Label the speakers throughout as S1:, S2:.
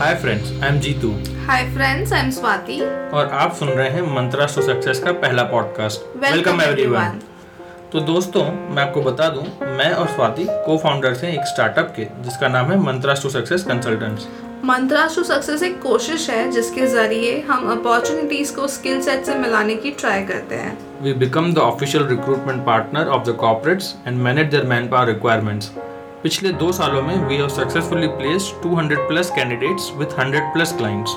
S1: Hi friends I am Jeetu
S2: hi friends I am Swati
S1: और आप सुन रहे हैं मंत्रा टू सक्सेस का पहला पॉडकास्ट वेलकम एवरीवन तो दोस्तों मैं आपको बता दूं मैं और स्वाति को फाउंडर्स हैं एक स्टार्टअप के जिसका नाम है mantra to success consultants
S2: mantras to success एक कोशिश है जिसके जरिए हम अपॉर्चुनिटीज को स्किल सेट से मिलाने की ट्राई करते हैं
S1: we become the official recruitment partner of the corporates and manage their man power requirements पिछले दो सालों में we have successfully place 200 plus candidates with 100 plus clients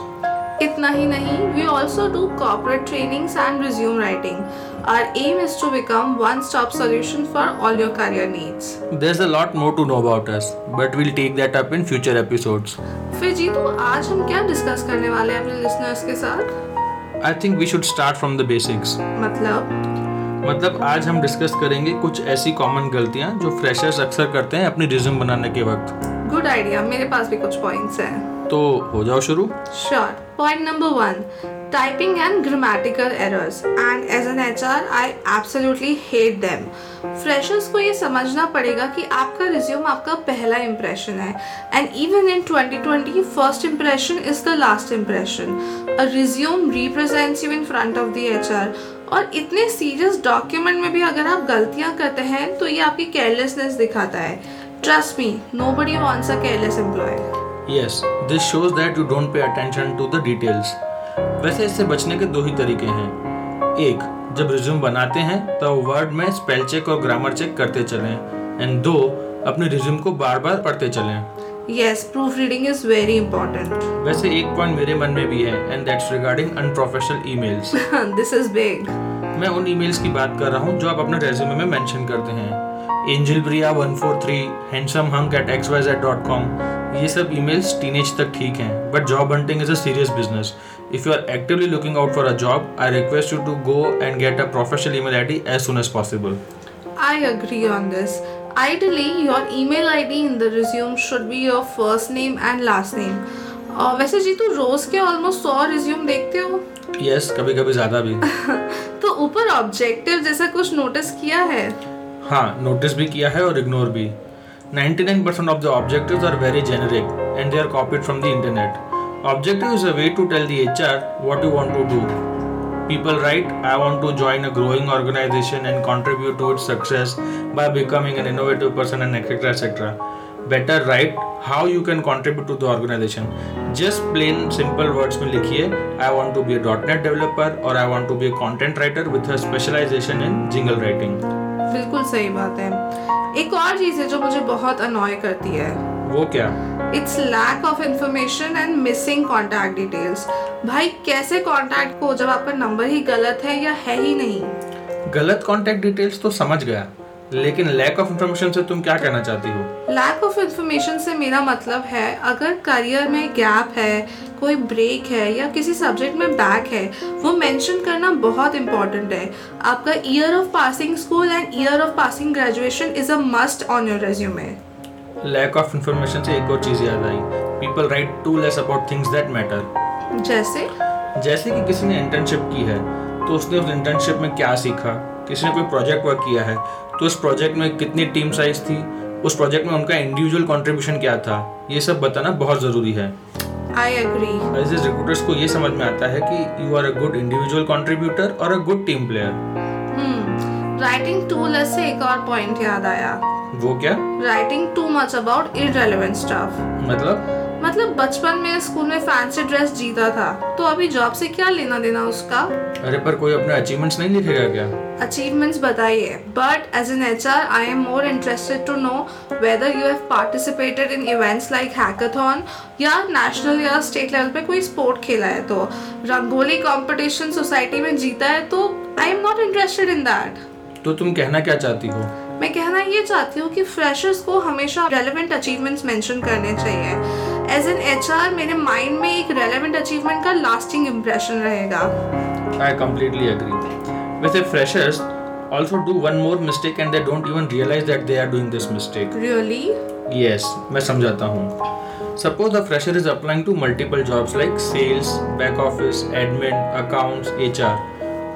S2: इतना ही नहीं we also do corporate trainings and resume writing R M is to become one stop solution for all your career needs
S1: There's a lot more to know about us, but we'll take that up in future episodes.
S2: फिर जी तो आज हम क्या discuss करने वाले हैं अपने लिसनर्स के साथ
S1: I think we should start from the basics.
S2: मतलब
S1: मतलब आज हम डिस्कस करेंगे कुछ ऐसी कॉमन गलतियां जो फ्रेशर्स अक्सर करते हैं अपनी रिज्यूम बनाने के वक्त
S2: गुड आइडिया मेरे पास भी कुछ पॉइंट्स हैं
S1: तो हो जाओ शुरू
S2: Sure. Point number one typing and grammatical errors. And as an HR, I absolutely hate them. Freshers को ये समझना पड़ेगा कि आपका रिज्यूम आपका पहला इम्प्रेशन है and even in 2020 first impression is the last impression a resume represents you in front of the HR और इतने सीरियस डॉक्यूमेंट में भी अगर आप गलतियां करते हैं तो ये आपकी केयरलेसनेस दिखाता है trust me nobody wants a careless employee
S1: yes this shows that you don't pay attention to the details वैसे इससे बचने के दो ही तरीके हैं एक जब रिज्यूम बनाते हैं तो वर्ड में स्पेल चेक और ग्रामर चेक करते चलें एंड दो अपने रिज्यूम को बार बार पढ़ते चलें
S2: yes proof reading is very important
S1: वैसे एक पॉइंट मेरे मन में भी है and that's regarding unprofessional emails
S2: this is big
S1: मैं उन ईमेल्स की बात कर रहा हूँ जो आप अपने रेज्यूमे में मेंशन करते हैं angel Priya one four three handsome hunk at x y z dot com ये सब ईमेल्स टीनेज तक ठीक हैं but job hunting is a serious business if you are actively looking out for a job I request you to go and get a professional email ID as soon as possible
S2: I agree on this. Ideally, your email ID in the resume should be your first name and last name. और वैसे Jeetu रोज के almost सौ resume देखते हो
S1: yes कभी कभी ज़्यादा भी
S2: तो ऊपर ऑब्जेक्टिव जैसा कुछ नोटिस किया है
S1: हाँ नोटिस भी किया है और इग्नोर भी 99% of the objectives are very generic and they are copied from the internet objective is a way to tell the HR what you want to do people write I want to join a growing organization and contribute to its success by becoming an innovative person and etcetera etcetera better write how you can contribute to the organization just plain simple words में लिखिए I want to be a dot net developer और I want to be a content writer with a specialization in jingle writing
S2: बिल्कुल सही बात है एक और चीज़ है जो मुझे बहुत अनॉय करती है
S1: वो क्या
S2: it's lack of information and missing contact details भाई कैसे कॉन्टैक्ट को जब आपका नंबर ही गलत है या है ही नहीं
S1: गलत कॉन्टैक्ट डिटेल्स तो समझ गया लेकिन लैक ऑफ इंफॉर्मेशन से तुम क्या कहना चाहती हो
S2: लैक ऑफ इंफॉर्मेशन से मेरा मतलब है अगर करियर में गैप है कोई ब्रेक है या किसी सब्जेक्ट में बैक है वो मेंशन करना बहुत इंपॉर्टेंट है आपका year of passing school and year of passing graduation is a must on your resume
S1: lack of information से एक और चीज़ याद आई people write too less about things that matter
S2: जैसे
S1: जैसे कि किसी ने इंटर्नशिप की है तो उसने उस इंटर्नशिप में क्या सीखा किसी ने कोई प्रोजेक्ट वर्क किया है तो उस प्रोजेक्ट में कितनी टीम साइज थी उस प्रोजेक्ट में उनका इंडिविजुअल कंट्रीब्यूशन क्या था ये सब बताना बहुत ज़रूरी है
S2: आई एग्री
S1: एज रिक्रूटर्स को ये समझ में आता है कि you are a good individual contributor और a good team player
S2: writing too less hmm, से एक और पॉइंट याद आया
S1: वो क्या
S2: writing too much about irrelevant stuff
S1: मतलब
S2: मतलब बचपन में स्कूल में फैंसी ड्रेस जीता था तो अभी जॉब से क्या लेना देना उसका
S1: अरे पर कोई अपने अचीवमेंट्स नहीं लिखेगा क्या
S2: achievements बताइए but as an HR I am more interested to know whether you have participated in events like hackathon या national या state level पे कोई sport खेला है तो रंगोली competition society में जीता है तो I am not interested in that
S1: तो तुम कहना क्या चाहती हो
S2: मैं कहना ये चाहती हूँ कि फ्रेशर्स को हमेशा रेलिवेंट अचीवमेंट्स मेंशन करने चाहिए एज एन एच मेरे माइंड में एक रेलिवेंट अचीवमेंट का लास्टिंग इम्प्रेशन रहेगा
S1: आई कम्प्लीटली एग्री वैसे freshers also do one more mistake and they don't even realize that they are doing this mistake
S2: really
S1: yes मैं समझाता हूँ suppose the fresher is applying to multiple jobs like sales back office admin accounts H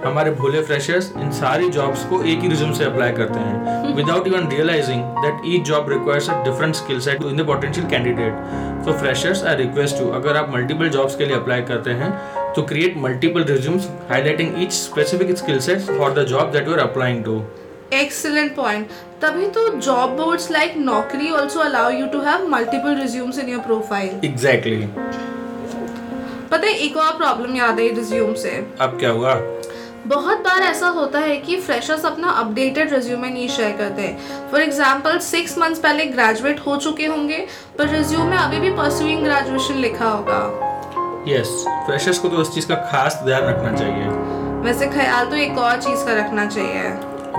S1: हमारे भोले freshers इन सारी jobs को एक ही रिज्यूम से अप्लाई करते हैं without even realizing that each job requires a different skill set in the potential candidate. So freshers, I request you अगर आप multiple jobs के लिए apply करते हैं तो create multiple resumes highlighting each specific skill set for the job that you are applying to.
S2: Excellent point तभी तो job boards like Naukri also allow you to have multiple resumes in your profile
S1: Exactly.
S2: पता है एक और problem याद I resume से
S1: अब क्या हुआ
S2: बहुत बार ऐसा होता है कि फ्रेशर्स अपना अपडेटेड रिज्यूमे नहीं शेयर करते फॉर एग्जाम्पल सिक्स मंथ्स पहले ग्रेजुएट हो चुके होंगे पर रिज्यूमे अभी भी परस्यूइंग ग्रेजुएशन लिखा होगा
S1: यस फ्रेशर्स को तो इस चीज़ का खास ध्यान रखना चाहिए
S2: वैसे ख्याल तो एक और चीज़ का रखना चाहिए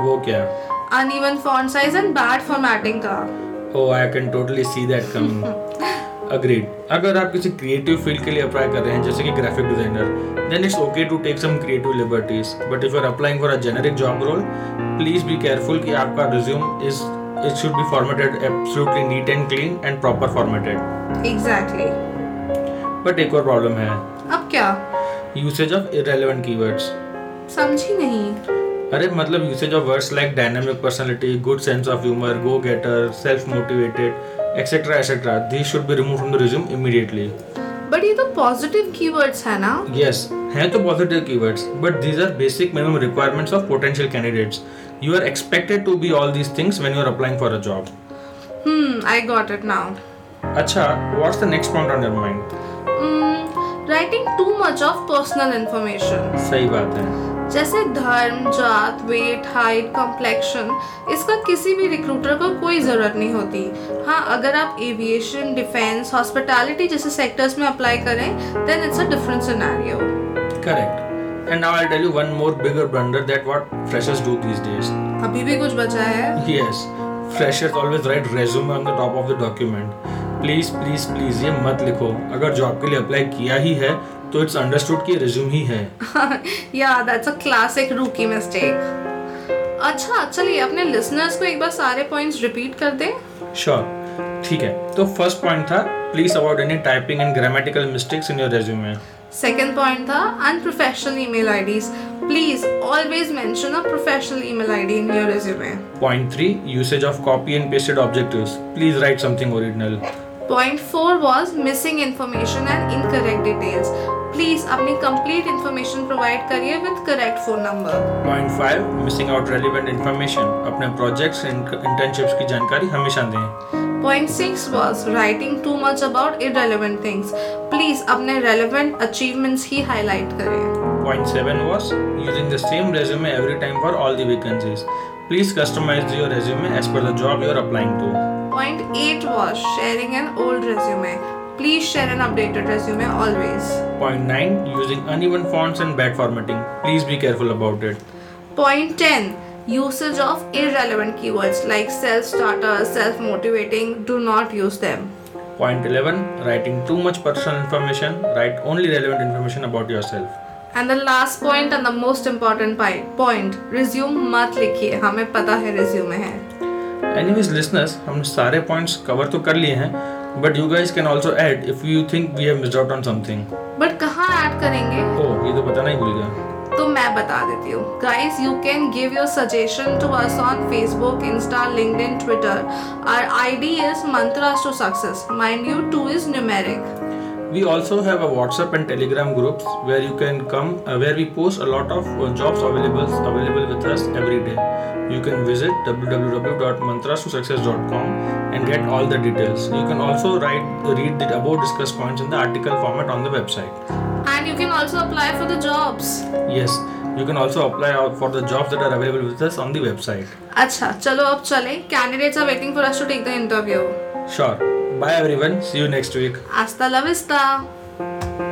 S1: वो क्या
S2: uneven font size and bad formatting का
S1: Oh, I can totally see that coming. Agreed. अगर आप किसी क्रिएटिव फील्ड के लिए अप्लाई कर रहे हैं जैसे कि graphic designer then it's okay to take some creative liberties but if you are applying for a generic job role please be careful कि आपका resume is it should be formatted absolutely neat and clean and proper formatted
S2: exactly exactly.
S1: But एक और problem है
S2: अब क्या
S1: usage of irrelevant keywords
S2: समझी नहीं
S1: अरे मतलब usage of words like dynamic personality good sense of humour go getter self motivated etcetera etcetera this should be remove from the resume immediately
S2: but ये तो पॉजिटिव कीवर्ड्स है ना
S1: yes हैं तो पॉजिटिव keywords but these are basic minimum requirements of potential candidates you are expected to be all these things when you are applying for a job
S2: हम्म I got it now
S1: अच्छा what's the next point on your mind
S2: writing too much of personal information
S1: सही बात है
S2: जैसे धर्म जात weight height complexion इसका किसी भी रिक्रूटर को कोई ज़रूरत नहीं होती हाँ अगर आप एविएशन डिफेंस हॉस्पिटैलिटी जैसे सेक्टर्स में अप्लाई करें then it's a different scenario
S1: correct and now i'll tell you one more bigger blunder that what freshers do these days
S2: अभी भी कुछ बचा है
S1: yes freshers always write resume on the top of the document please please please ये मत लिखो अगर job के लिए अप्लाई किया ही है तो इट्स अंडरस्टूड कि रिज्यूम ही है
S2: या that's a classic rookie mistake अच्छा चलिए अपने लिसनर्स को एक बार सारे पॉइंट्स रिपीट कर दें
S1: श्योर ठीक है तो फर्स्ट पॉइंट था please avoid any typing and grammatical mistakes in your resume
S2: second point था unprofessional email IDs please always mention a professional email ID in your resume
S1: point three usage of copy and pasted objectives please write something original
S2: point four was missing information and incorrect details please अपनी complete information provide करिए with correct phone number
S1: point five missing out relevant information अपने projects and internships की जानकारी हमेशा दें
S2: point six was writing too much about irrelevant things please अपने relevant achievements ही highlight करें
S1: point seven was using the same resume every time for all the vacancies please customize your resume as per the job you are applying to
S2: point eight was sharing an old resume please share an updated resume always
S1: point nine using uneven fonts and bad formatting please be careful about it
S2: Point 10 Usage of irrelevant keywords like self starter, self motivating, do not use them.
S1: Point 11 Writing too much personal information, write only relevant information about yourself.
S2: And the last point and the most important pi- point resume मत लिखिए हमें पता है resume है
S1: Anyways, listeners, हमने सारे points cover तो कर लिए हैं but you guys can also add if you think we have miss out on something
S2: but कहाँ ऐड करेंगे
S1: ओ ये तो पता नहीं भूल गया
S2: तो मैं बता देती हूँ guys you can give your suggestion to us on Facebook Insta LinkedIn Twitter our ID is mantras to success mind you two is numeric
S1: We also have a WhatsApp and Telegram groups where you can come, uh, where we post a lot of uh, jobs available available with us every day. You can visit www.mantrastosuccess.com and get all the details. You can also write, read the above discussed points in the article format on the website.
S2: And you can also apply for the jobs.
S1: Yes, you can also apply out for the jobs that are available with us on the website.
S2: अच्छा चलो अब चले candidates are waiting for us to take the interview
S1: Sure. Bye everyone. See you next week.
S2: आस्ता लविस्ता